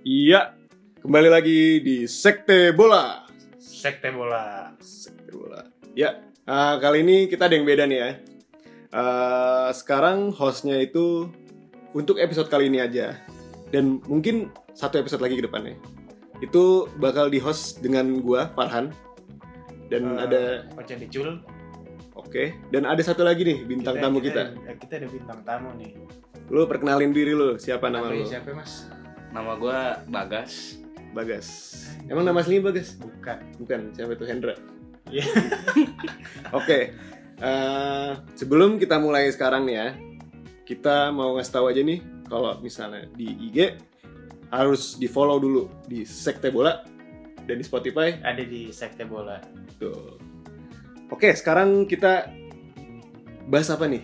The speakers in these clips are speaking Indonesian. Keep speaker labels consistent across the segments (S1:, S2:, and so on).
S1: Iya, kembali lagi di Sekte Bola.
S2: Sekte bola.
S1: Sekte Bola. Ya, eh, kali ini kita ada yang beda nih ya. Eh, sekarang hostnya itu untuk episode kali ini aja, dan mungkin satu episode lagi ke depannya. Itu bakal di host dengan gua Farhan, dan
S2: Eh,
S1: ada
S2: Oce Dicul.
S1: oke, dan ada satu lagi nih bintang tamu kita.
S2: Kita, ada bintang tamu nih.
S1: Lu perkenalin diri lu, ya, siapa nama lu?
S2: Namanya siapa mas?
S3: Nama gue Bagas.
S1: Bagas. Emang nama aslinya Bagas?
S2: Bukan.
S1: Bukan, siapa itu Hendra?
S2: Iya.
S1: Oke, eh, sebelum kita mulai sekarang nih ya, kita mau ngasih tahu aja nih kalau misalnya di IG harus di follow dulu di Sekte Bola dan di Spotify.
S2: Ada di Sekte bola.
S1: Tuh. Oke, sekarang kita bahas apa nih?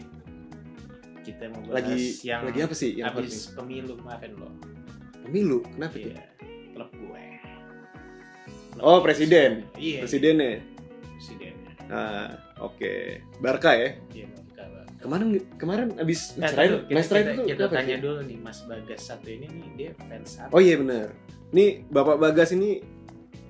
S2: Kita mau bahas
S1: Lagi
S2: yang
S1: lagi apa sih? Yang
S2: habis pemilu kemarin loh.
S1: penting? pemilu. Kenapa tuh?
S2: Iya. Klub gue. Klub
S1: Oh,
S2: gue.
S1: presiden.
S2: Iya.
S1: Presidennya.
S2: Presiden.
S1: Nah, oke. Barca ya.
S2: Iya. Bagas.
S1: Kemarin kemarin abis
S2: Nah,
S1: Mesra itu,
S2: tunggu, kita,
S1: Mesra
S2: kita,
S1: itu
S2: kita
S1: kenapa sih?
S2: tanya dulu nih Mas Bagas satu ini nih dia fans apa?
S1: Oh iya bener. Nih Bapak Bagas ini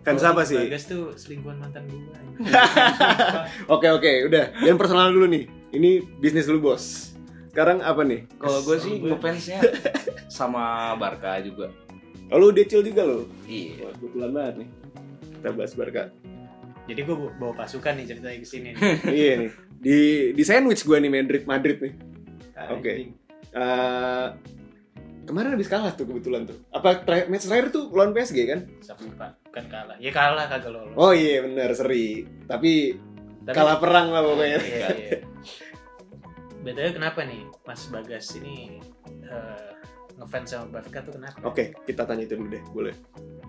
S1: fans
S2: Kalau
S1: apa
S2: Mas
S1: sih?
S2: Bagas tuh selingkuhan mantan gue.
S1: Oke oke udah. Yang personal dulu nih. Ini bisnis lu bos. Sekarang apa nih?
S3: Kalau gue sih
S2: Sama gua.
S3: ngefansnya sama Barca juga.
S1: Oh, lu decil juga lo.
S3: Iya.
S1: Kebetulan banget nih. Kita bahas Barca.
S2: Jadi gue bawa pasukan nih ceritanya ke sini. nih.
S1: iya nih. Di di sandwich gua nih Madrid Madrid nih. Oke.
S2: Anjing.
S1: Eh, kemarin habis kalah tuh kebetulan tuh. Apa terakhir- match terakhir tuh lawan PSG kan?
S2: Siapa lupa? Bukan kalah. Ya kalah kagak lolos.
S1: Oh iya bener seri. Tapi,
S2: Tapi-
S1: kalah perang lah pokoknya.
S2: Iya, iya. BTW kenapa nih Mas Bagas ini eh, ngefans sama Barca tuh kenapa?
S1: Oke, kita tanya itu dulu deh, boleh.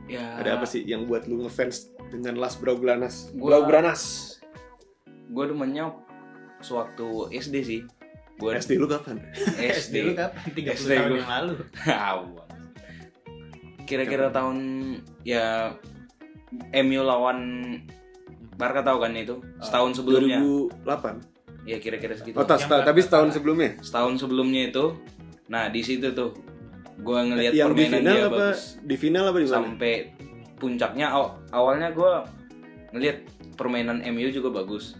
S3: Ya.
S1: Ada apa sih yang buat lu ngefans dengan Las Blaugranas?
S3: Gua-
S1: Blaugranas.
S3: Gue demennya sewaktu SD sih. Gue
S1: SD lu kapan?
S3: SD.
S2: SD lu
S1: kan?
S2: kapan? 30
S3: SD
S2: tahun
S3: gua.
S2: yang lalu.
S3: Awas. Kira-kira tahun ya MU lawan Barca tahu kan itu setahun sebelumnya.
S1: 2008.
S3: Ya kira-kira segitu.
S1: Eh, Oh, tas,
S2: Yang
S1: ta- tapi
S2: Barca
S1: setahun
S2: kalah.
S1: sebelumnya.
S3: Setahun sebelumnya itu. Nah di situ tuh gue ngelihat
S1: yang di
S3: permainan
S1: final
S3: dia
S1: apa?
S3: bagus.
S1: Di final apa
S3: Iya,
S1: di mana?
S3: sampai puncaknya aw- awalnya gue ngelihat permainan MU juga bagus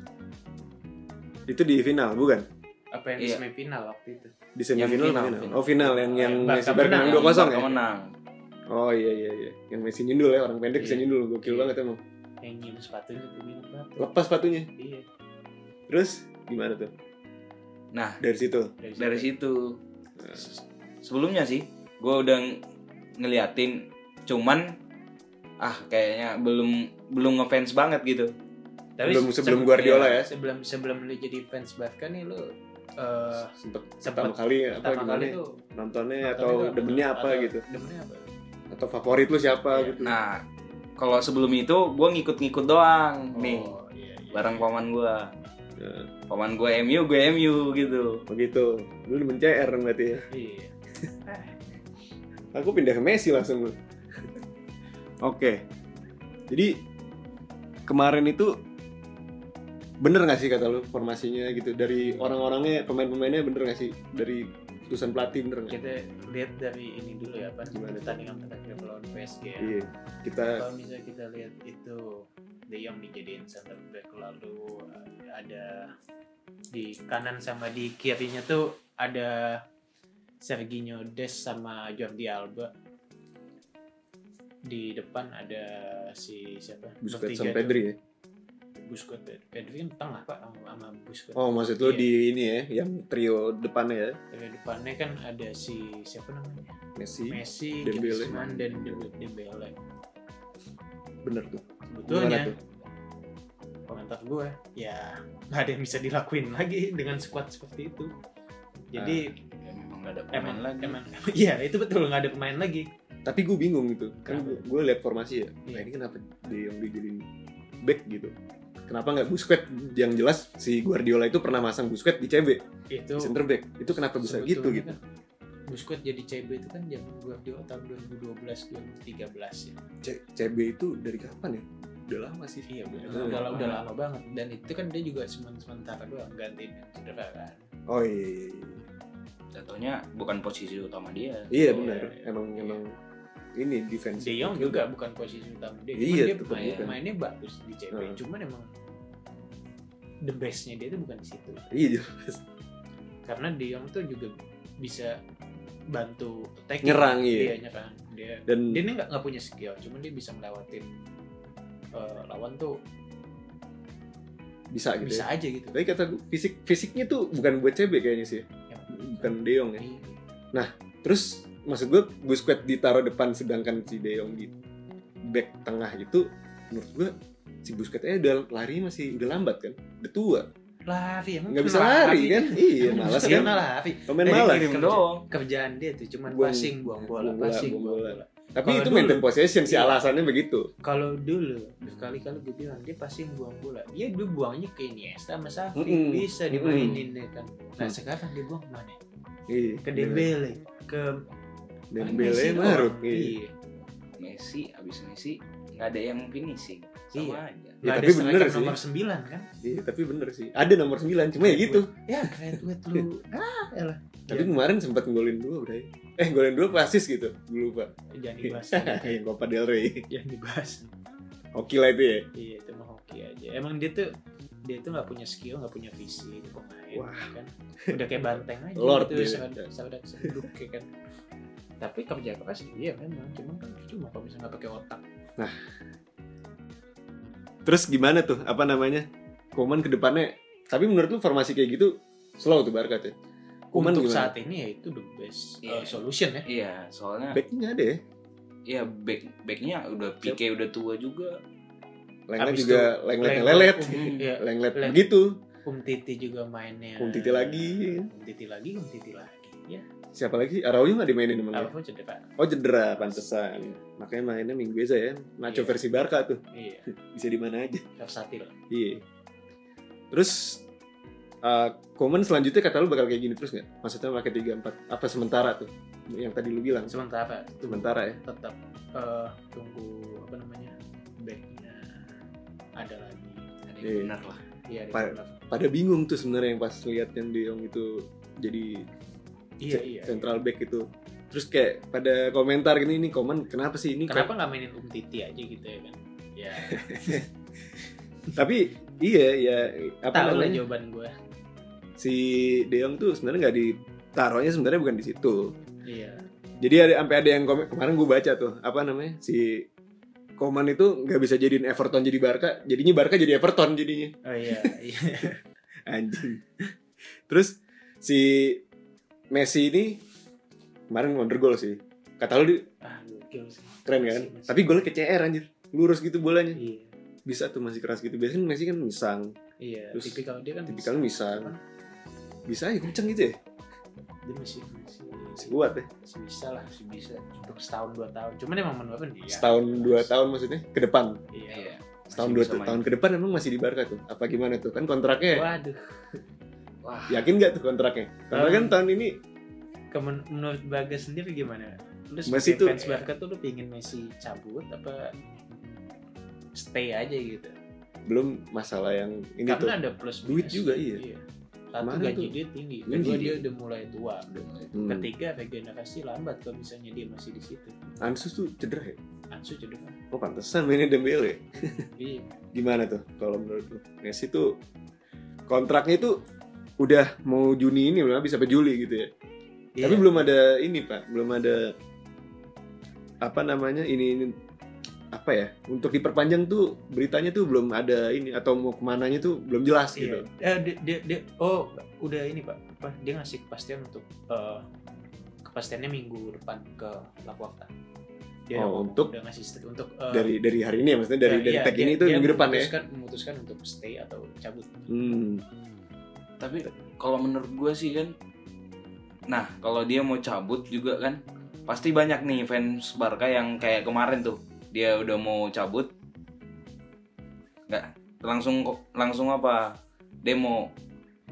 S1: Itu di final, bukan?
S2: Apa yang di
S3: Iya.
S2: semifinal waktu itu?
S1: Di semifinal
S3: final,
S1: apa final?
S3: final.
S1: Oh, final yang yang
S2: Yang
S1: Messi
S2: Barca
S1: Barca menang
S2: menang,
S1: 2-0
S3: Yang
S1: ya?
S3: Barca menang
S1: Oh iya iya iya. Yang Messi nyundul ya, orang pendek bisa
S2: Iya.
S1: nyundul, gokil
S2: Iya.
S1: banget emang.
S2: Yang nyium sepatunya tuh minum banget.
S1: Lepas sepatunya.
S2: Iya.
S1: Terus gimana tuh?
S3: nah
S1: Dari situ.
S2: Eh,
S3: dari situ se- sebelumnya sih gue udah ng- ngeliatin cuman ah kayaknya belum belum ngefans banget gitu
S2: Tapi
S1: Sebelum-
S2: se-
S1: sebelum
S2: se-
S1: Guardiola ya?
S2: Sebelum sebelum lu jadi fans Barca nih lu eh
S1: Sempet pertama
S2: sempat
S1: kali apa
S2: pertama
S1: gimana?
S2: kali tuh
S1: Nontonnya
S2: nonton
S1: atau
S2: itu
S1: demennya apa
S2: atau
S1: gitu?
S2: Demennya apa?
S1: Atau favorit lu siapa
S2: Iya.
S1: gitu?
S3: nah kalau sebelum itu gue ngikut-ngikut doang nih
S2: Oh, iya, iya.
S3: bareng paman gue
S1: Nah,
S3: paman gue MU gue MU gitu
S1: begitu. Lu demen CR dong berarti ya.
S2: Iya.
S1: Aku pindah ke Messi langsung lu. Oke. Jadi kemarin itu bener nggak sih kata lu formasinya gitu dari orang-orangnya pemain-pemainnya bener nggak sih dari keputusan pelatih bener nggak?
S2: kita lihat dari ini dulu ya apa
S1: Gimana?
S2: pertandingan terakhir melawan PSG ya.
S1: Iya. Kita
S2: kalau misalnya kita lihat itu De Jong dijadiin center back lalu uh, ada di kanan sama di kirinya tuh ada Serginho Des sama Jordi Alba di depan ada si siapa
S1: Busquets
S2: Bertiga
S1: sama
S2: tuh.
S1: Pedri ya.
S2: Busquets Pedri kan tengah pak sama, sama Busquets
S1: Oh, maksud lu
S2: Iya.
S1: di ini ya, yang trio depannya ya.
S2: Dari depannya kan ada si siapa namanya
S1: Messi.
S2: Messi,
S1: Dembele.
S2: Griezmann dan Dem- Dembele.
S1: Bener tuh. Gimana
S2: Sebetulnya
S1: tuh?
S2: komentar gue ya nggak ada yang bisa dilakuin lagi dengan squad seperti itu. Jadi
S3: ya, memang gak ada
S1: Ah,
S2: emang
S3: pemain lagi
S2: emang iya itu betul nggak ada pemain lagi.
S1: Tapi gue bingung gitu. Kan
S2: Kenapa?
S1: gue lihat formasi ya. Nah,
S2: Iya.
S1: ini kenapa dia yang dijadiin back gitu? Kenapa nggak Busquets? Yang jelas si Guardiola itu pernah masang Busquets di CB.
S2: Itu
S1: center back itu kenapa bisa
S2: sebetulnya
S1: gitu gitu
S2: kan Busquets jadi CB itu kan zaman Guardiola tahun 2012 2013 ya.
S1: C- CB itu dari kapan ya? Udah lama sih.
S2: Iya benar.
S1: Udah
S2: Udah,
S1: lama.
S2: udah lama banget dan itu kan dia juga cuma sementara doang gantiin yang cedera kan.
S1: Oh iya iya
S3: Jatuhnya bukan posisi utama dia.
S1: iya. Iya
S2: Oh,
S1: benar.
S2: iya.
S1: Emang emang ini defense.
S2: De Jong juga bukan posisi utama dia. Cuman
S1: kan. Iya,
S2: dia
S1: tetep
S2: main,
S3: bukan.
S2: mainnya bagus di CB.
S1: Heeh.
S2: Cuman emang the bestnya dia itu bukan di situ.
S1: Iya jelas.
S2: Karena De Jong tuh juga bisa bantu attack
S1: Nyerang, iya.
S2: Dia nyerang. Dia
S1: Dan
S2: dia ini nggak nggak punya skill, cuman dia bisa melewatin eh, lawan tuh
S1: bisa gitu.
S2: bisa
S1: Ya.
S2: aja gitu.
S1: Tapi kata gue fisik fisiknya tuh bukan buat CB kayaknya sih.
S2: Ya.
S1: Bukan De Jong ya.
S2: Iya.
S1: Terus maksud gue Busquets ditaruh depan sedangkan si De Jong di back tengah itu menurut gue si Busquetsnya udah lari masih udah lambat kan udah tua
S2: Lari emang
S1: nggak bisa
S2: kenapa
S1: lari kan iya
S2: Emang
S1: malas
S2: dia
S1: kan
S2: malah lari.
S1: pemain
S2: Dari
S1: malas
S2: kiri
S3: Kirim
S2: Kerja.
S3: doang.
S2: Kerjaan dia tuh cuman
S1: Buang-
S2: passing buang bola,
S1: buang bola,
S2: passing
S1: buang
S2: buang
S1: bola.
S2: bola.
S1: tapi
S2: Kalau
S1: itu
S2: dulu-
S1: maintain possession sih
S2: Iya.
S1: alasannya begitu
S2: Kalau dulu
S1: Hmm.
S2: berkali-kali gue bilang dia passing buang bola. Dia dia buangnya ke Iniesta sama Xavi
S1: Mm-mm.
S2: bisa dimainin deh kan. Nah
S1: Mm.
S2: sekarang dia buang mana?
S1: iya
S2: Ke Dembele, ke
S1: Dembele
S2: Messi
S1: marut
S2: doang.
S1: iya.
S2: Iya.
S3: Messi abis Messi nggak ada yang finishing.
S2: Iya.
S3: Sama aja.
S1: Ya,
S2: Nggak
S1: tapi
S2: ada
S1: bener
S2: striker
S1: sih.
S2: nomor 9 kan?
S1: Iya, tapi bener sih ada nomor 9 cuma ya gitu
S2: Ya graduate lu. Ah, elah.
S1: tapi kemarin sempat ngolin dua bray eh ngolin dua pasis gitu gue lupa
S2: Jangan dibahas.
S1: yang Copa del Rey
S2: Jangan dibahas.
S1: oke lah itu ya
S2: Iya itu mah hoki aja. Emang dia tuh dia tuh nggak punya skill, nggak punya visi, dia pemain
S1: Wah.
S2: kan. Udah kayak banteng aja
S1: Lord
S2: gitu,
S1: dia.
S2: saudara saudara senduk kayak kan. Tapi kerja keras iya memang, cuma kan cuma kalau misalnya nggak pakai otak.
S1: terus gimana tuh apa namanya Koman ke depannya tapi menurut lu formasi kayak gitu slow tuh Barca tuh Koeman
S2: Untuk
S1: gimana?
S2: saat ini ya itu the best uh,
S3: Iya.
S2: solution ya.
S3: Iya, soalnya
S1: backnya nggak ada ya
S3: ya back backnya
S1: Iya.
S3: udah Pique udah tua juga.
S1: Lenglet
S2: Abis
S1: juga
S2: itu,
S1: lenglet
S2: Lenglet,
S1: lelet
S2: Um, iya.
S1: lenglet
S2: Lenglet.
S1: begitu
S2: Um Titi juga mainnya.
S1: Um Titi lagi.
S2: Um Titi lagi, Um Titi lagi. Ya,
S1: siapa lagi Araujo nggak dimainin emang ya?
S2: apapun cedera.
S1: oh cedera pantesan makanya mainnya minggu aja ya Nacho
S2: Iya.
S1: versi Barca tuh
S2: Iya,
S1: bisa di mana aja
S2: versatil.
S1: iya terus uh, komen selanjutnya kata lu bakal kayak gini terus nggak maksudnya pakai tiga empat apa sementara tuh yang tadi lu bilang
S2: Sementara tuh
S1: sementara ya
S2: tetap eh, tunggu apa namanya backnya ada lagi
S3: Ada
S1: Iya.
S3: yang benar Ya, lah.
S2: iya ada
S1: Pa-
S2: Kemlav.
S1: pada bingung tuh sebenarnya yang pas lihat yang De Jong itu jadi
S2: iya
S1: ce-
S2: iya
S1: central back itu terus kayak pada komentar gini ini komen kenapa sih ini
S2: kenapa nggak mainin um titi aja gitu ya kan ya
S1: tapi iya ya apa
S2: tahu lah
S1: namanya
S2: jawaban gue
S1: si Deong tuh sebenarnya nggak ditaruhnya sebenarnya bukan di situ
S2: iya
S1: jadi ada sampai ada yang komen kemarin gue baca tuh apa namanya si Koman itu nggak bisa jadiin Everton jadi Barca jadinya Barca jadi Everton jadinya
S2: oh iya iya
S1: anjing terus si Messi ini kemarin wonder goal sih kata lu di-
S2: ah gokil sih
S1: keren kan
S2: Masih- masih.
S1: tapi golnya ke CR anjir lurus gitu bolanya
S2: iya
S1: bisa tuh masih keras gitu biasanya Messi kan misang
S2: iya
S1: Terus,
S2: tipikal dia kan
S1: tipikalnya misang bisa ya kenceng gitu ya
S2: dia masih masih
S1: masih kuat ya
S2: masih bisa lah masih bisa untuk setahun dua tahun cuman emang menurun dia
S1: setahun dua tahun maksudnya ke depan
S2: iya
S3: Iya. Masih
S1: setahun dua
S3: bisa main.
S1: tahun ke depan emang masih di Barca tuh apa gimana tuh kan kontraknya
S2: waduh
S3: Wah,
S1: yakin nggak tuh kontraknya karena
S2: Hmm.
S1: kan tahun ini
S2: Ke men- menurut Bagas sendiri gimana? Lu
S1: Messi
S2: sebagai
S1: tuh-
S2: fans Barca tuh lu pingin Messi cabut apa stay aja gitu?
S1: belum masalah yang ini tuh
S2: Karena ada plus
S1: Gitu. Duit
S2: minus.
S1: juga, iya.
S2: Satu
S1: Kemarin
S2: gaji
S1: tuh-
S2: dia tinggi,
S1: Gaji
S2: kedua dia
S1: dia.
S2: udah mulai tua.
S3: udah mulai.
S1: Hmm.
S2: Ketiga regenerasi lambat kalau misalnya dia masih di situ.
S1: Ansu tuh cedera ya
S2: Ansu cedera.
S1: oh pantesan mainnya Dembele ya?
S2: Iya.
S1: gimana tuh kalau menurut lu Messi tuh kontraknya tuh udah mau Juni ini belum bisa sampai Juli gitu ya tapi
S2: Iya.
S1: belum ada ini pak belum ada apa namanya ini, ini apa ya untuk diperpanjang tuh beritanya tuh belum ada ini atau mau kemananya tuh belum jelas gitu
S2: Iya. Eh, dia, dia, dia- oh udah ini pak apa dia ngasih kepastian untuk eh, kepastiannya minggu depan ke La Porta. Dia
S1: Oh,
S2: udah-
S1: untuk-
S2: udah ngasih untuk eh,
S1: dari dari hari ini ya maksudnya dari
S2: Ya,
S1: dari
S2: iya,
S1: tag
S2: dia-
S1: ini tuh
S2: dia
S1: minggu depan ya
S2: memutuskan, memutuskan untuk stay atau cabut
S1: hmm
S3: Tapi kalau menurut gue sih kan Nah, kalau dia mau cabut juga kan pasti banyak nih fans Barca yang kayak kemarin tuh. Dia udah mau cabut. Enggak, langsung langsung apa? Demo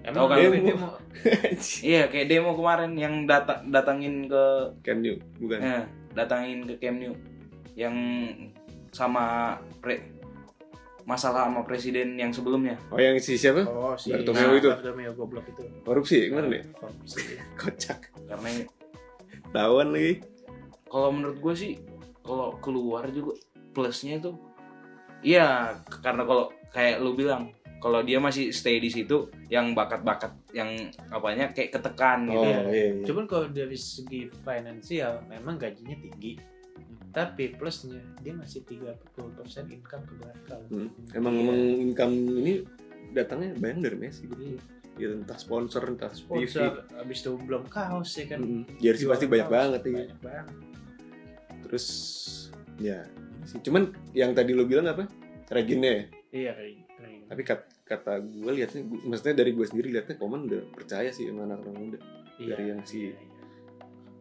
S2: Emang
S3: kan?
S2: dia,
S1: Demo.
S2: dia mau-
S3: Iya, kayak demo kemarin yang data datangin ke
S1: Cam New, Kan bukan.
S3: eh, datangin ke Camp Nou yang sama pre masalah sama presiden yang sebelumnya.
S1: Oh yang si siapa?
S2: Oh, si
S1: Bartomeu
S2: nah,
S1: itu.
S2: Bartomeu goblok itu.
S1: Korupsi gimana nih?
S2: Korupsi.
S1: Kocak.
S3: Karena
S1: Tawan lagi.
S3: kalau menurut gue sih kalau keluar juga plusnya itu iya karena kalau kayak lu bilang kalau dia masih stay di situ yang bakat-bakat yang apanya kayak ketekan gitu
S2: iya.
S1: iya. iya.
S2: Cuman kalau dari segi finansial memang gajinya tinggi. Tapi plusnya dia masih 30% income ke belakang.
S1: Hmm. Emang
S2: iya.
S1: emang income ini datangnya banyak dari Messi gitu.
S2: Jadi
S1: Ya, entah sponsor, entah TV.
S2: sponsor abis itu belum kaos ya kan.
S1: Hmm. Jersey pasti banyak
S2: Kaos,
S1: banget ya.
S2: Banyak banget.
S1: Terus ya ini sih. Cuman yang tadi lu bilang apa? Regine ya.
S2: Iya, kering- kering.
S1: Tapi kat- kata gue liatnya, gua- maksudnya dari gue sendiri liatnya Komen udah percaya sih sama anak-anak muda.
S2: Iya,
S1: dari yang si-
S2: iya, iya.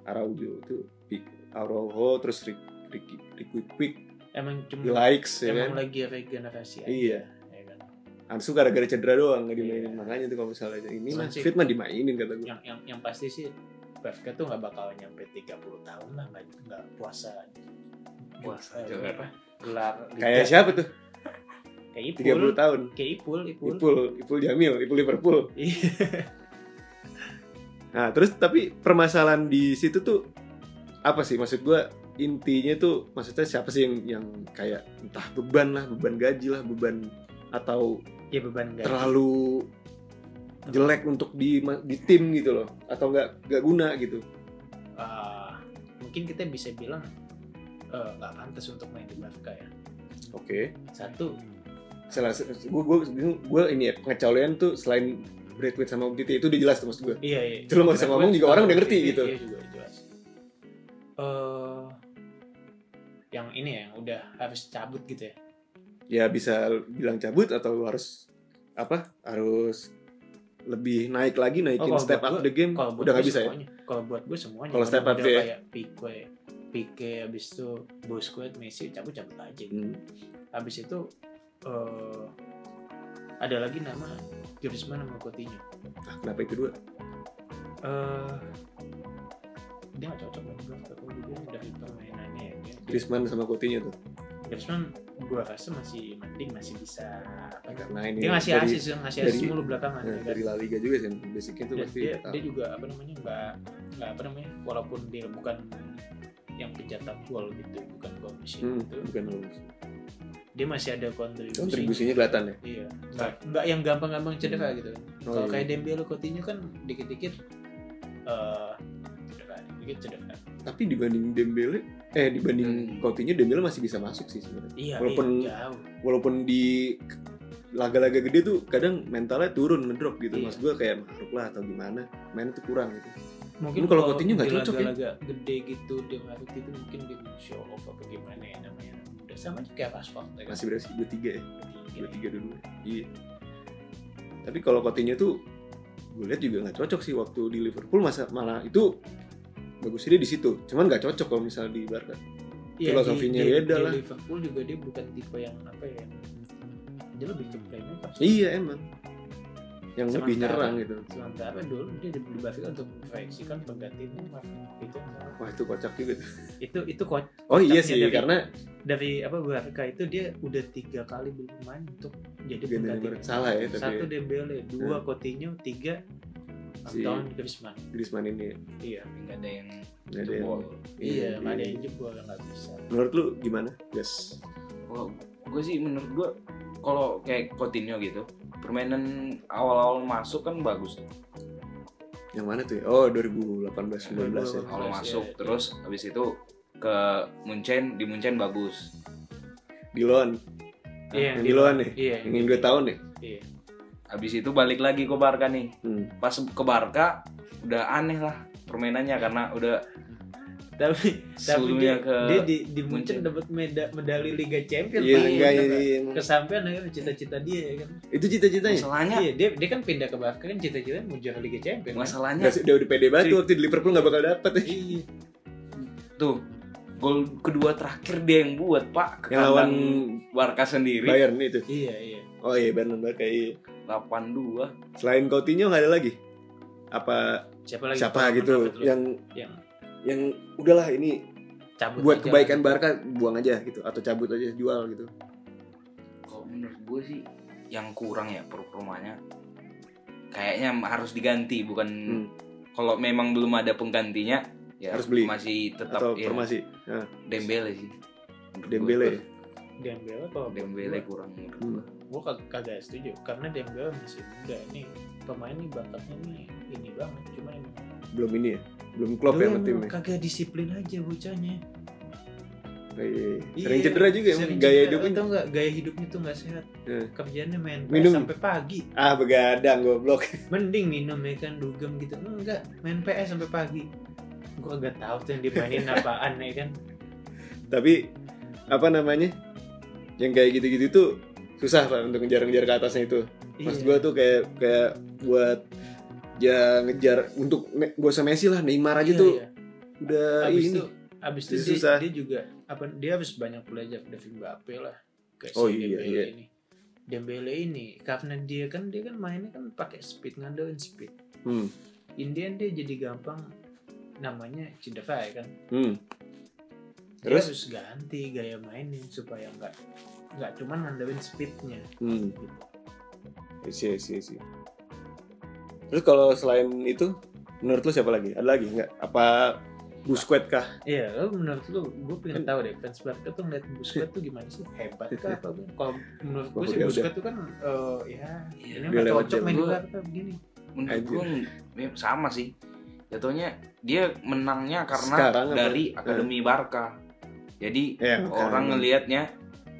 S1: Araujo itu Pi- Araujo terus Rick- Ricky Ricky Quick
S2: Emang cuma
S1: di likes ya
S2: Hmm. emang
S1: kan
S2: lagi regenerasi aja.
S1: Iya.
S2: ya kan?
S1: Ansu gara-gara cedera doang nggak dimainin
S2: Iya.
S1: makanya tuh kalau misalnya ini
S2: Cuman
S1: mah
S2: sih-
S1: fit mah dimainin kata gue
S2: Yang yang yang pasti sih Bafka tuh nggak bakal nyampe 30 tahun lah nggak nggak puasa
S3: Puasa,
S2: Eh,
S3: jangan.
S2: apa? gelar
S1: kayak
S2: liga.
S1: siapa tuh
S2: kayak
S1: 30
S2: Ipul
S1: tahun
S2: kayak Ipul Ipul,
S1: Ipul Ipul Jamil Ipul Liverpool
S2: Iya.
S1: nah terus tapi permasalahan di situ tuh apa sih maksud gue intinya tuh maksudnya siapa sih yang yang kayak entah beban lah beban gaji lah beban atau
S2: ya beban gaji
S1: terlalu jelek untuk di di tim gitu loh atau nggak nggak guna gitu
S2: Eh, mungkin kita bisa bilang eh, nggak pantas untuk main di Bafka ya
S1: oke
S2: satu
S1: salah gue gue gue ini ya pengecualian tuh selain Braithwaite sama Umtiti itu udah jelas tuh maksud gue
S2: iya iya
S1: Itu lo nggak usah ngomong juga orang udah ngerti
S2: Iya,
S1: gitu.
S2: iya, juga jelas Eh, yang ini ya yang udah harus cabut gitu ya
S1: ya bisa bilang cabut atau lu harus apa harus lebih naik lagi naikin
S2: Oh, kalau
S1: step
S2: buat
S1: up
S2: gua-
S1: the game
S2: kalau buat
S1: udah
S2: gue
S1: nggak bisa ya
S2: semuanya. kalau buat gue semuanya
S1: Kalau step up
S2: Udah
S1: dia ya.
S2: kayak Pique Pique abis itu Busquets Messi cabut cabut aja gitu.
S1: Hmm.
S2: abis itu eh, ada lagi nama Griezmann sama Coutinho
S1: Nah, kenapa itu dua
S2: Eh, dia nggak cocok main draft kalau gue bilang dari permainannya ya dia
S1: Griezmann sama Coutinho tuh
S2: Griezmann gue rasa masih mending masih bisa
S1: Nah,
S2: apa ya,
S1: karena ini
S2: dia ngasih
S1: dari,
S2: asis ya, ngasih asis
S1: dari-
S2: mulu belakangan
S1: nah,
S2: ya kan?
S1: dari La Liga juga sih basicnya tuh
S2: Dan
S1: pasti
S2: dia,
S1: tetap.
S2: dia juga apa namanya nggak nggak apa namanya walaupun dia bukan yang pencetak gol gitu bukan gol
S1: Hmm,
S2: machine gitu
S1: bukan lulus.
S2: dia masih ada kontribusi
S1: kontribusinya kelihatan ya
S2: iya nggak nggak yang gampang-gampang cedera gitu
S1: Oh,
S2: kalau
S1: iya.
S2: kayak Dembele Coutinho kan dikit-dikit eh cedera dikit cedera
S1: tapi dibanding Dembele eh dibanding
S3: Hmm.
S1: Coutinho Dembele masih bisa masuk sih sebenarnya
S2: iya
S1: Walaupun-
S2: iya, jauh
S1: walaupun di laga-laga gede tuh kadang mentalnya turun ngedrop gitu
S2: Iya.
S1: mas gue kayak maruk lah atau gimana mainnya tuh kurang gitu
S2: mungkin
S1: Mungkin kalau Coutinho nggak
S2: di
S1: cocok ya.
S2: laga-laga gede gitu dia ngarut itu mungkin dia mau show off apa gimana ya namanya udah sama aja kayak Rashford ya kan?
S1: masih berapa sih dua tiga ya dua
S2: Gini.
S1: tiga dulu iya tapi kalau Coutinho tuh gue lihat juga nggak cocok sih waktu di Liverpool masa malah itu bagusnya dia di situ cuman nggak cocok kalau misalnya di Barca
S2: Iya,
S1: filosofinya
S2: di, di-
S1: beda
S2: di
S1: lah.
S2: Liverpool juga dia bukan tipe yang apa ya dia lebih ke playmaker sih.
S1: iya emang yang
S2: Cuman
S1: lebih nyerang
S2: kalah.
S1: gitu
S2: sementara dulu dia di di Barca untuk memproyeksikan penggantinya itu
S1: wah itu kocak juga tuh.
S2: itu itu coach
S1: oh iya
S2: Kocaknya
S1: sih
S2: dari-
S1: karena
S2: dari apa Barca itu dia udah tiga kali bermain untuk jadi
S1: Ganti
S2: penggantinya
S1: nomor. Salah ya, tapi
S2: satu
S1: ya.
S2: Dembele dua Coutinho tiga
S1: Si-
S2: Anton Griezmann
S1: Griezmann ini
S2: iya
S3: nggak ada yang
S1: nggak ada yang
S3: jebol.
S2: Iya, nggak ada yang jebol nggak bisa.
S1: menurut lu gimana guys
S3: Kalau gue sih menurut gue kalau kayak Coutinho gitu permainan awal-awal masuk kan bagus tuh.
S1: yang mana tuh ya? oh 2018 19 ya
S3: awal
S2: Bagus,
S3: masuk
S2: iya.
S3: terus habis itu ke Munchen di Munchen bagus
S1: di loan Ah,
S2: Iya,
S1: yang di loan nih
S2: Iya.
S1: yang ingin 2 tahun ya? nih
S2: Iya.
S3: habis itu balik lagi ke Barca nih
S1: hmm.
S3: pas ke Barca udah aneh lah permainannya karena udah
S2: Tapi tapi dia,
S3: sebelumnya ke
S2: dia di, di Munchen
S3: Munchen.
S2: dapat meda- medali Liga Champions.
S1: iya
S2: Pak.
S1: enggak
S2: Bener,
S1: jadi
S2: Pak. Kesampaian akhirnya cita-cita dia ya kan.
S1: itu cita-citanya
S3: masalahnya
S2: Iya, dia dia kan pindah ke Barca kan cita-citanya mau juara Liga Champions. kan?
S3: masalahnya
S1: Nggak sih, udah udah pede banget tuh waktu di Liverpool nggak bakal dapet ya.
S2: Iya.
S3: tuh gol kedua terakhir dia yang buat pak ke
S1: yang lawan
S3: kandang Barca sendiri
S1: Bayern itu
S2: Iya, iya.
S1: oh iya Bayern Barca iya
S3: 82
S1: Selain Coutinho nggak ada lagi? Apa
S2: siapa lagi
S1: siapa gitu
S2: yang
S1: yang
S2: yang
S1: yang udahlah ini
S2: cabut
S1: buat
S2: aja
S1: kebaikan
S2: lah.
S1: Barca buang aja gitu atau cabut aja jual gitu.
S3: kalau menurut gue sih yang kurang ya per rumahnya kayaknya harus diganti bukan
S1: Hmm.
S3: kalau memang belum ada penggantinya ya
S1: Harus beli.
S3: masih tetap
S1: Atau
S2: iya.
S3: ya,
S1: formasi Nah,
S3: Dembele sih Menurut
S1: Dembele.
S3: gua-
S2: Dembele apa
S3: Dembele kurang menurut
S1: Hmm.
S3: gua.
S2: gue kagak setuju karena Dembele masih muda nih pemain nih bakatnya nih ini banget cuman emang
S1: Belum ini ya. Belum klop ya sama
S2: Belum,
S1: timnya.
S2: kagak disiplin aja bocahnya
S1: Iya, iya, iya. Sering
S2: Iya,
S1: cedera juga ya,
S2: sering
S1: gaya
S2: cedera.
S1: hidupnya.
S2: Tau nggak, gaya hidupnya tuh nggak sehat
S1: Iya.
S2: kerjanya main
S1: Minum.
S2: PS sampai pagi
S1: Ah, begadang goblok.
S2: mending minum ya kan dugem gitu enggak main PS sampai pagi gue agak tahu tuh yang dimainin apaan ya kan
S1: Tapi apa namanya? Yang kayak gitu-gitu tuh susah Pak untuk ngejar-ngejar ke atasnya itu. Maksud
S2: Iya.
S1: gua tuh kayak kayak buat ya ngejar untuk ne- gak usah Messi lah Neymar aja
S2: Iya,
S1: tuh
S2: iya.
S1: udah
S2: abis
S1: ini.
S2: itu abis itu
S1: Jadi
S2: dia,
S1: susah.
S2: dia juga apa dia harus banyak belajar dari Mbappe lah kayak
S1: Oh, iya,
S2: Dembele
S1: iya.
S2: ini Dembele ini karena dia kan dia kan mainnya kan pakai speed ngandelin speed
S1: Hmm.
S2: Indian dia jadi gampang namanya cedera ya kan
S1: Hmm.
S2: dia
S1: Terus?
S2: harus ganti gaya mainnya supaya nggak nggak cuman ngandelin speednya
S1: Hmm.
S2: gitu.
S1: Iya, iya, iya. Terus kalau selain itu menurut lu siapa lagi? Ada lagi nggak? Apa Busquets kah?
S2: Iya, lo menurut lu, gue
S1: Kan
S2: pengen tahu deh fans Barca tuh ngeliat Busquets tuh gimana sih hebat kah apa bukan? Kalau menurut gue
S1: Wah,
S2: sih
S1: udah,
S2: Busquets tuh kan eh, ya
S3: Iya,
S2: ini
S1: udah
S2: mah
S1: lewat
S2: cocok
S1: jam
S2: main di
S3: dua.
S2: Barca begini.
S3: menurut
S1: Anjir.
S3: gue mem- sama sih jatuhnya dia menangnya karena
S1: Sekarang apa? Eh.
S3: dari akademi Barca jadi
S1: Ya,
S3: orang ngelihatnya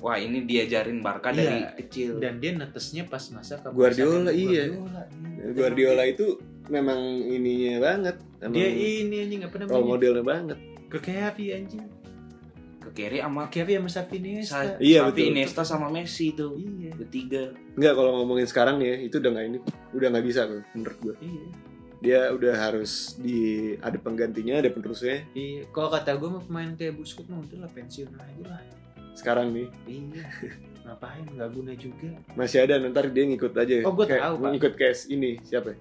S3: wah ini diajarin Barca
S2: Iya.
S3: dari kecil
S2: Dan dia netesnya pas masa ke
S1: Guardiola, iya.
S2: Guardiola, iya.
S1: Guardiola itu memang ininya banget. Memang
S2: Dia ini anjing apa
S1: role
S2: namanya?
S1: modelnya banget.
S2: Ke Xavi anjing.
S3: ke kiri sama
S2: Xavi sama Xavi Iniesta.
S3: Sa-
S1: Iya,
S3: Xavi,
S1: betul.
S3: Iniesta sama Messi tuh
S2: Iya,
S3: bertiga
S1: Enggak kalau ngomongin sekarang nih ya, itu udah nggak ini, udah nggak bisa tuh menurut gue.
S2: iya.
S1: Dia udah harus di ada penggantinya, ada penerusnya.
S2: Iya, kalau kata gue mah pemain kayak Busquets mah udah lah pensiun aja lah.
S1: Sekarang nih
S2: Iya. Ngapain nggak guna juga.
S1: masih ada ntar dia ngikut aja.
S2: Oh, gua
S1: Kayak
S2: tahu, Pak.
S1: Ngikut case ini siapa? ya?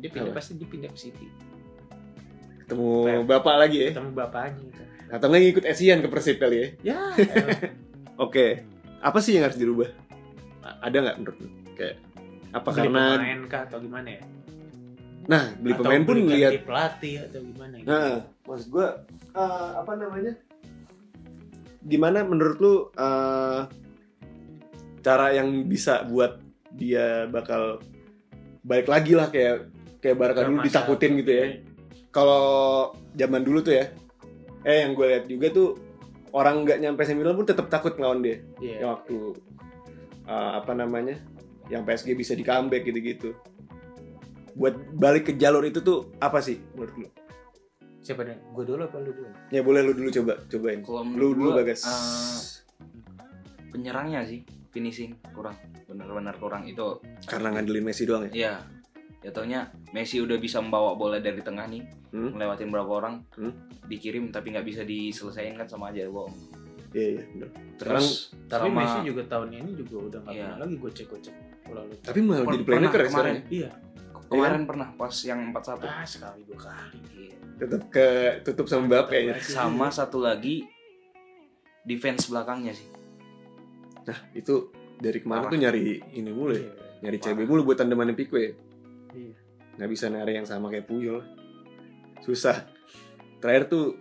S2: Dia pindah
S1: Apa?
S2: pasti dia pindah ke City.
S1: Ketemu
S2: Pep.
S1: bapak lagi ya.
S2: Ketemu bapaknya gitu.
S1: Atau nggak ngikut Asian ke Persib kali ya?
S2: Ya.
S1: Oke, apa sih yang harus dirubah? A- Ada nggak menurut lu? Kayak apa karena
S2: beli pemain kah atau gimana ya?
S1: nah beli
S2: Atau
S1: pemain pun
S2: beli ganti
S1: lihat.
S2: pelatih atau gimana gitu.
S1: Nah, maksud gua eh, apa namanya? Gimana menurut lu eh, cara yang bisa buat dia bakal balik lagi lah kayak kayak Barca
S2: Nah,
S1: dulu
S2: masa-
S1: ditakutin gitu ya? Kalau zaman dulu tuh ya, eh yang gue lihat juga tuh orang nggak nyampe semifinal pun tetap takut ngelawan dia.
S2: Iya.
S1: Ya, waktu uh, apa namanya yang PSG bisa di comeback gitu-gitu buat balik ke jalur itu tuh apa sih menurut lu?
S2: Siapa dulu? Gue dulu apa lu dulu?
S1: Ya boleh lu dulu coba cobain.
S3: kalau
S1: Lu
S3: menurut
S1: dulu
S3: gua,
S1: bagas.
S3: eh, penyerangnya sih finishing kurang benar-benar kurang itu
S1: Karena ngandelin Messi doang ya.
S3: ya jatuhnya Messi udah bisa membawa bola dari tengah nih
S1: Hmm.
S3: ngelewatin berapa orang
S1: Hmm.
S3: dikirim tapi nggak bisa diselesaikan kan sama aja bohong
S1: Iya iya. bener.
S3: terus
S2: Tapi
S3: sama
S2: Messi juga tahun ini juga udah nggak
S3: Iya.
S2: pernah lagi gocek-gocek. Kalau lu
S1: Tapi malah
S3: Pernah,
S1: jadi playmaker ya
S3: kemarin.
S1: sekarang. ya.
S2: iya.
S3: kemarin pernah pas yang 4-1
S2: Ah sekali dua kali.
S3: Iya.
S1: Tetap ke tutup sama Mbappe ya.
S2: iya.
S3: sama satu lagi defense belakangnya sih
S1: Nah, itu dari kemarin
S3: Parah.
S1: tuh nyari ini mulu ya.
S2: Iya.
S1: Nyari
S3: Parah.
S1: CB mulu buat tandemannya Pique ya.
S2: Iya.
S1: nggak bisa narik yang sama kayak Puyol susah terakhir tuh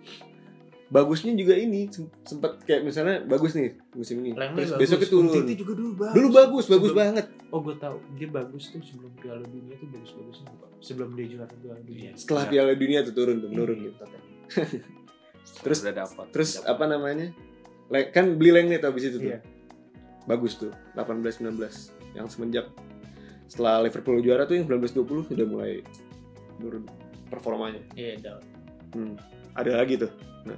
S1: bagusnya juga ini sem- sempat kayak misalnya bagus nih musim ini
S2: Lenglet
S1: terus
S2: bagus.
S1: besoknya turun
S2: Umtiti juga dulu bagus.
S1: dulu bagus bagus
S2: Sebelum-
S1: banget
S2: Oh gue tahu dia bagus tuh sebelum Piala Dunia tuh bagus bagusnya Pak. Sebelum dia juara Piala Dunia.
S1: setelah
S3: Iya.
S1: Piala Dunia tuh turun tuh menurun
S2: Iya.
S1: gitu Terus-
S3: udah dapat
S1: terus
S3: Dapat.
S1: apa namanya Le- kan beli Lenglet abis itu tuh
S2: Iya.
S1: bagus tuh 18-19 yang semenjak setelah Liverpool juara tuh yang 19-20 udah mulai turun performanya
S2: Iya down.
S1: hmm. ada lagi tuh nah,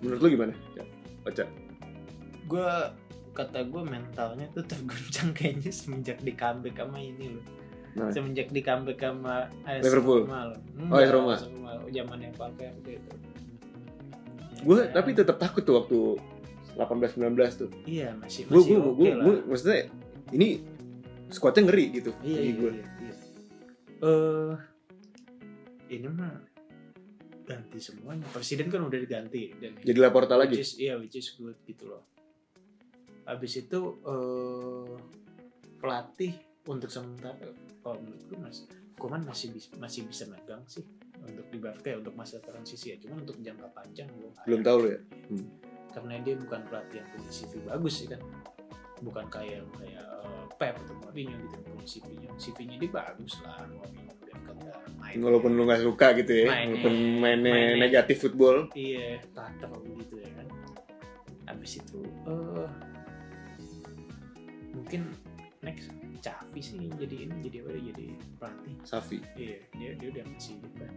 S1: menurut lu gimana Ya, Oca
S2: Gue kata gue mentalnya tuh terguncang kayaknya semenjak di comeback sama ini loh.
S1: Nah.
S2: Semenjak di comeback sama AS
S1: Liverpool.
S2: Roma loh.
S1: Oh, AS Roma.
S2: Zaman yang Valverde itu.
S1: gue
S2: Ya,
S1: tapi tetap takut tuh waktu 18 19 tuh.
S2: iya masih
S1: Gue
S2: masih
S1: gue
S2: oke
S1: gue
S2: lah.
S1: maksudnya ini squadnya ngeri gitu
S2: Iya,
S1: bagi
S2: iya,
S1: gue.
S2: iya, iya. Eh, ini mah ganti semuanya. Presiden kan udah diganti dan
S1: Jadi Laporta lagi.
S2: Which is, iya, which is good gitu loh. Habis itu eh, pelatih untuk sementara kalau menurut gue mas, Koman masih bisa masih bisa megang sih untuk di Barca ya, untuk masa transisi ya. Cuman untuk jangka panjang belum. ada.
S1: Belum tahu lu ya.
S2: Karena dia bukan pelatih yang punya CV bagus sih kan. Bukan kayak kayak eh, Pep atau Mourinho gitu yang punya CV-nya. CV-nya dia bagus lah. Mourinho dan kata main.
S1: Walaupun lu nggak suka gitu ya,
S2: Mainnya-
S1: walaupun mainnya
S2: mainnya.
S1: negatif football,
S2: iya tater gitu ya kan habis itu eh mungkin next Cavi sih jadi ini jadi apa ya, jadi pelatih
S1: Safi.
S2: iya dia dia udah masih apa ya,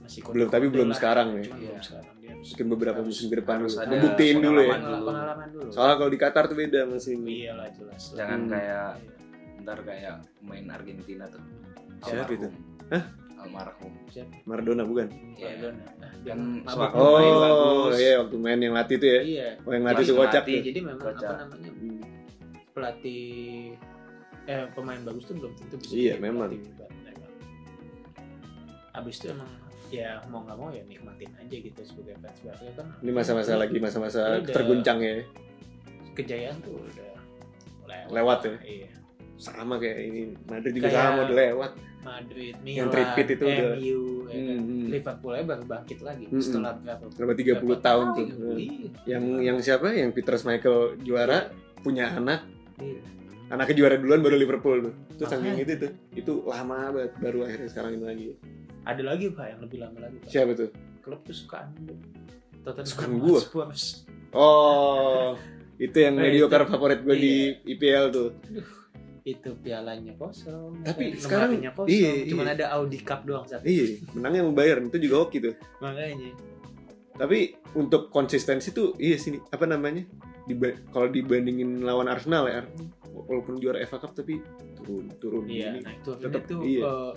S2: masih
S1: Belum tapi
S2: kode-kode
S1: belum
S2: lah.
S1: sekarang ya.
S2: Cuman
S3: Iya.
S2: belum sekarang dia harus
S1: Mungkin beberapa
S2: harus-
S1: musim ke depan
S3: harus
S1: dulu.
S3: ada
S1: Membuktiin dulu ya.
S3: pengalaman.
S2: Pengalaman- pengalaman dulu
S1: Soalnya kalau di Qatar tuh beda masih.
S2: iya lah jelas lah.
S3: Jangan
S1: Hmm.
S3: kayak
S2: Iya.
S3: ntar kayak main Argentina tuh.
S1: Siapa
S3: Almarhum.
S1: itu?
S3: Hah? Almarhum.
S2: Siapa?
S1: Maradona bukan?
S3: Iya.
S2: Maradona. Nah,
S3: Kan
S2: dia
S3: suka
S2: mabuk
S1: Oh,
S2: main
S3: main bagus.
S1: iya waktu main yang latih tuh ya.
S2: lah. iya
S1: Oh, yang latih
S3: Yang
S1: tuh kocak
S3: ngelatih.
S1: tuh. Hmm.
S2: jadi memang
S3: Kocak.
S2: apa namanya pelatih eh pemain bagus tuh belum tentu bisa
S1: Iya,
S2: jadi
S1: memang.
S2: pelatih juga, memang. Abis itu emang ya mau nggak mau ya nikmatin aja gitu sebagai fans Barca kan.
S1: Ini masa-masa lagi masa-masa
S2: Udah.
S1: terguncang ya.
S2: Kejayaan tuh udah lewat.
S1: Lewat ya?
S2: Iya.
S1: Sama kayak ini Madrid juga
S2: Kayak-
S1: sama udah lewat.
S2: Madrid,
S1: Yang
S2: Milan,
S1: trade pit itu
S2: MU,
S1: udah-
S2: ya kan.
S1: Hmm, hmm.
S2: Liverpool aja baru bangkit lagi
S1: Hmm,
S2: setelah berapa?
S1: Selama 30
S2: berapa
S1: tahun tuh. Hmm.
S2: tahun, Iya.
S1: Yang yang siapa? Yang Peter Michael juara, punya anak,
S2: Iya.
S1: anaknya juara duluan baru Liverpool tuh. Itu saking
S2: Makanya.
S1: itu tuh. Itu lama banget baru akhirnya sekarang ini lagi.
S2: Ada lagi pak yang lebih lama lagi. Pak.
S1: Siapa tuh?
S2: Klub tuh sukaan lu. Tottenham
S1: Sukaan gua.
S2: Hotspurs.
S1: Oh, itu yang
S2: Eh,
S1: mediocre
S2: itu- Iya.
S1: favorit gue di IPL tuh.
S2: itu pialanya kosong
S1: Tapi
S2: eh,
S1: sekarang-
S2: lemarinya kosong
S1: iya, iya.
S2: cuman ada Audi Cup doang satu
S1: Iya, menangnya mau bayar itu juga hoki tuh.
S2: makanya
S1: Tapi untuk konsistensi tuh iya sini apa namanya? Diba- kalau dibandingin lawan Arsenal ya, Arsenal walaupun juara FA Cup tapi turun turun
S2: iya
S1: gini.
S2: nah itu
S1: tetep,
S2: tetap tuh
S1: iya.
S2: eh,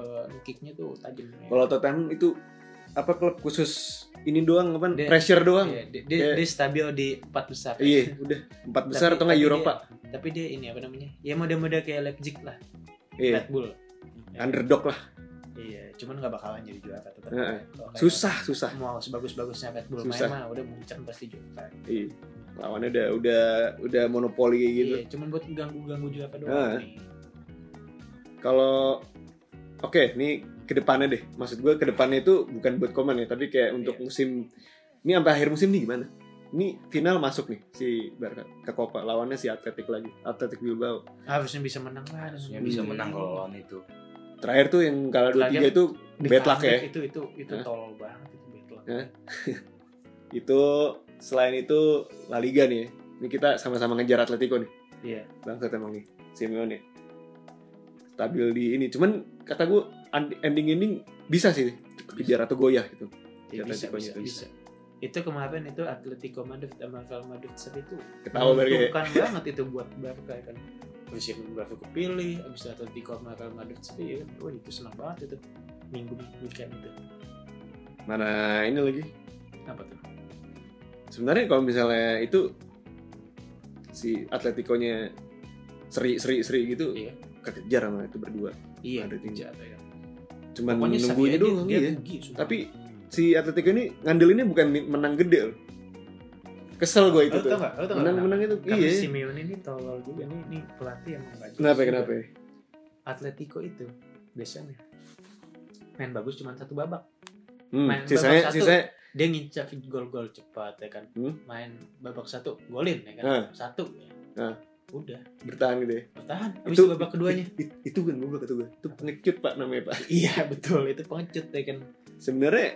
S2: eh, kicknya tuh tajam ya.
S1: Kalau Tottenham itu apa klub khusus ini doang apa
S2: Dia-
S1: pressure doang.
S2: Iya, dia, dia,
S1: Iya.
S2: dia stabil di empat besar
S1: Iya, udah empat
S2: Tapi-
S1: besar atau nggak
S2: tapi
S1: Eropa.
S2: dia- tapi dia ini apa namanya ya mudah-mudah kayak Leipzig lah
S1: Iya,
S2: Red Bull Ya.
S1: underdog lah.
S2: iya cuman nggak bakalan jadi juara tetap
S1: Heeh.
S2: Iya.
S1: Susah, susah.
S2: mau sebagus-bagusnya Red Bull
S1: Susah.
S2: main mah udah muncul pasti juara
S1: Iya. Lawannya udah udah udah monopoli kayak gitu.
S2: iya cuman buat ganggu-ganggu juara
S1: Heeh.
S2: doang nih.
S1: kalau oke ini kedepannya deh maksud gue kedepannya itu bukan buat komen ya tapi kayak untuk
S2: Iya.
S1: musim ini sampai akhir musim nih gimana ini final masuk nih si Barca ke Copa lawannya si Atletik lagi Atletik Bilbao
S2: harusnya bisa menang lah
S3: Harusnya
S2: dengan-
S1: Hmm.
S3: bisa menang kalau lawan itu.
S1: terakhir tuh yang kalah 2-3
S2: Terakhir,
S1: itu
S2: Di
S1: bad luck
S2: comeback
S1: ya
S2: itu itu itu
S1: Hah?
S2: tolol banget itu bad luck
S1: Hah? itu selain itu La Liga nih ya. ini kita sama-sama ngejar Atletico nih
S2: Iya.
S1: bangsat emang nih Simeone stabil di ini cuman kata gue ending ending bisa sih kejar atau goyah gitu
S2: Ya, bisa,
S1: Atletico-nya
S2: bisa,
S1: bisa.
S2: bisa. itu kemarin itu Atletico Madrid sama Real Madrid saat itu Hmm.
S1: ketawa Barca ya.
S2: menguntungkan banget itu buat Barca ya kan Abis itu Barca kepilih, abis itu Atletico sama Real Madrid sendiri ya kan, wah itu senang banget itu minggu weekend itu
S1: mana ini lagi
S2: apa tuh?
S1: sebenarnya kalau misalnya itu si Atletico-nya seri seri seri gitu
S2: Iya.
S1: kekejar sama itu berdua
S2: Iya,
S1: Madrid ini.
S2: jatuh ya.
S1: cuman
S2: Pokoknya Xavi
S1: nungguin
S2: aja,
S1: doang
S2: dia
S1: iya.
S2: rugi, sumpah.
S1: Tapi si Atletico ini ngandelinnya bukan mi- menang gede loh kesel gue itu
S2: Lo tau
S1: tuh
S2: nggak? Lo tau nggak
S1: menang
S2: kenapa?
S1: menang itu
S2: Karena
S1: iya
S2: Simeone ini tolol juga nih, nih pelatih emang gak jelas
S1: kenapa
S2: juga.
S1: kenapa ya?
S2: Atletico itu biasanya main bagus cuma satu babak
S1: hmm,
S2: Main
S1: sisanya
S2: babak satu.
S1: sisanya
S2: dia ngincar gol-gol cepat ya kan
S1: Hmm.
S2: main babak satu golin ya kan
S1: Nah.
S2: satu ya.
S1: Nah.
S2: udah
S1: bertahan gitu ya
S2: bertahan habis
S1: Itu-
S2: babak keduanya
S1: It- itu kan gue kata gue itu pengecut pak namanya pak
S2: iya betul itu pengecut ya kan
S1: sebenarnya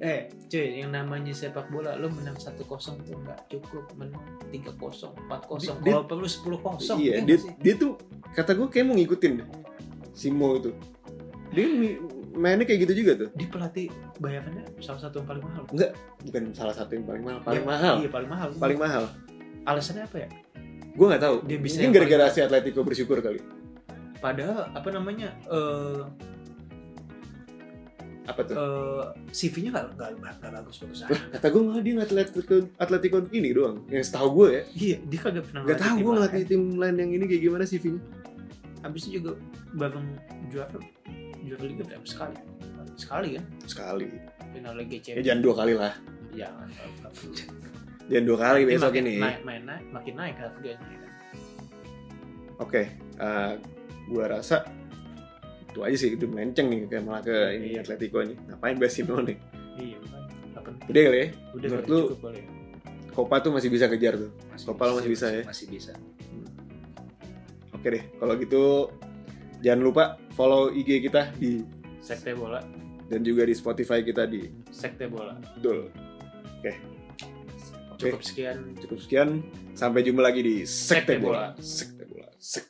S2: eh cuy yang namanya sepak bola lu menang satu kosong tuh nggak cukup menang tiga kosong empat kosong
S1: Dia-
S2: kalau perlu sepuluh kosong
S1: iya dia, dia tuh kata gue kayak mau ngikutin deh, si Mo itu dia mi- mainnya kayak gitu juga tuh
S2: di pelatih bayarannya salah satu yang paling mahal
S1: bukan salah satu yang paling mahal paling
S2: Yang-
S1: mahal
S2: iya paling mahal
S1: paling mahal
S2: alasannya apa ya
S1: gue nggak tahu
S2: Dia bisa
S1: mungkin
S2: yang
S1: gara-gara
S2: paling-
S1: si Atletico bersyukur kali
S2: padahal apa namanya eh
S1: apa tuh
S2: eh CV-nya nggak nggak nggak bagus bagus amat.
S1: kata gue malah dia ngeliat Atletico Atletico ini doang yang setahu gue ya
S2: iya dia kagak pernah
S1: nggak
S2: ngelatih
S1: tahu
S2: tim
S1: gue
S2: lain.
S1: ngelatih tim lain yang ini kayak gimana sih Vin
S2: Habis itu juga bareng juara juara liga berapa sekali? Sekali kan?
S1: sekali
S2: Final Liga
S1: ya
S2: Champions.
S1: jangan dua kali lah
S2: Jangan.
S1: jangan dua kali
S2: Ini
S1: besok
S2: makin
S1: ini
S2: Naik, main naik, makin naik harganya. kan.
S1: oke eh, gua rasa itu aja sih itu melenceng nih kayak malah ke ini Atletico nih ngapain bahas Simeone
S2: Iya, makanya. Nggak penting.
S1: udah kali ya
S2: Udah
S1: menurut
S2: kali,
S1: lu-
S2: cukup kali ya.
S1: Copa tuh masih bisa kejar tuh Kopal masih bisa ya?
S3: Masih bisa.
S1: oke deh kalau gitu jangan lupa follow IG kita di
S2: Sekte bola,
S1: dan juga di Spotify kita di
S2: sekte bola.
S1: Dul
S2: Cukup sekian
S1: cukup sekian sampai jumpa lagi di Sekte
S2: Sekte Bola.
S1: Bola Sekte Bola Sekte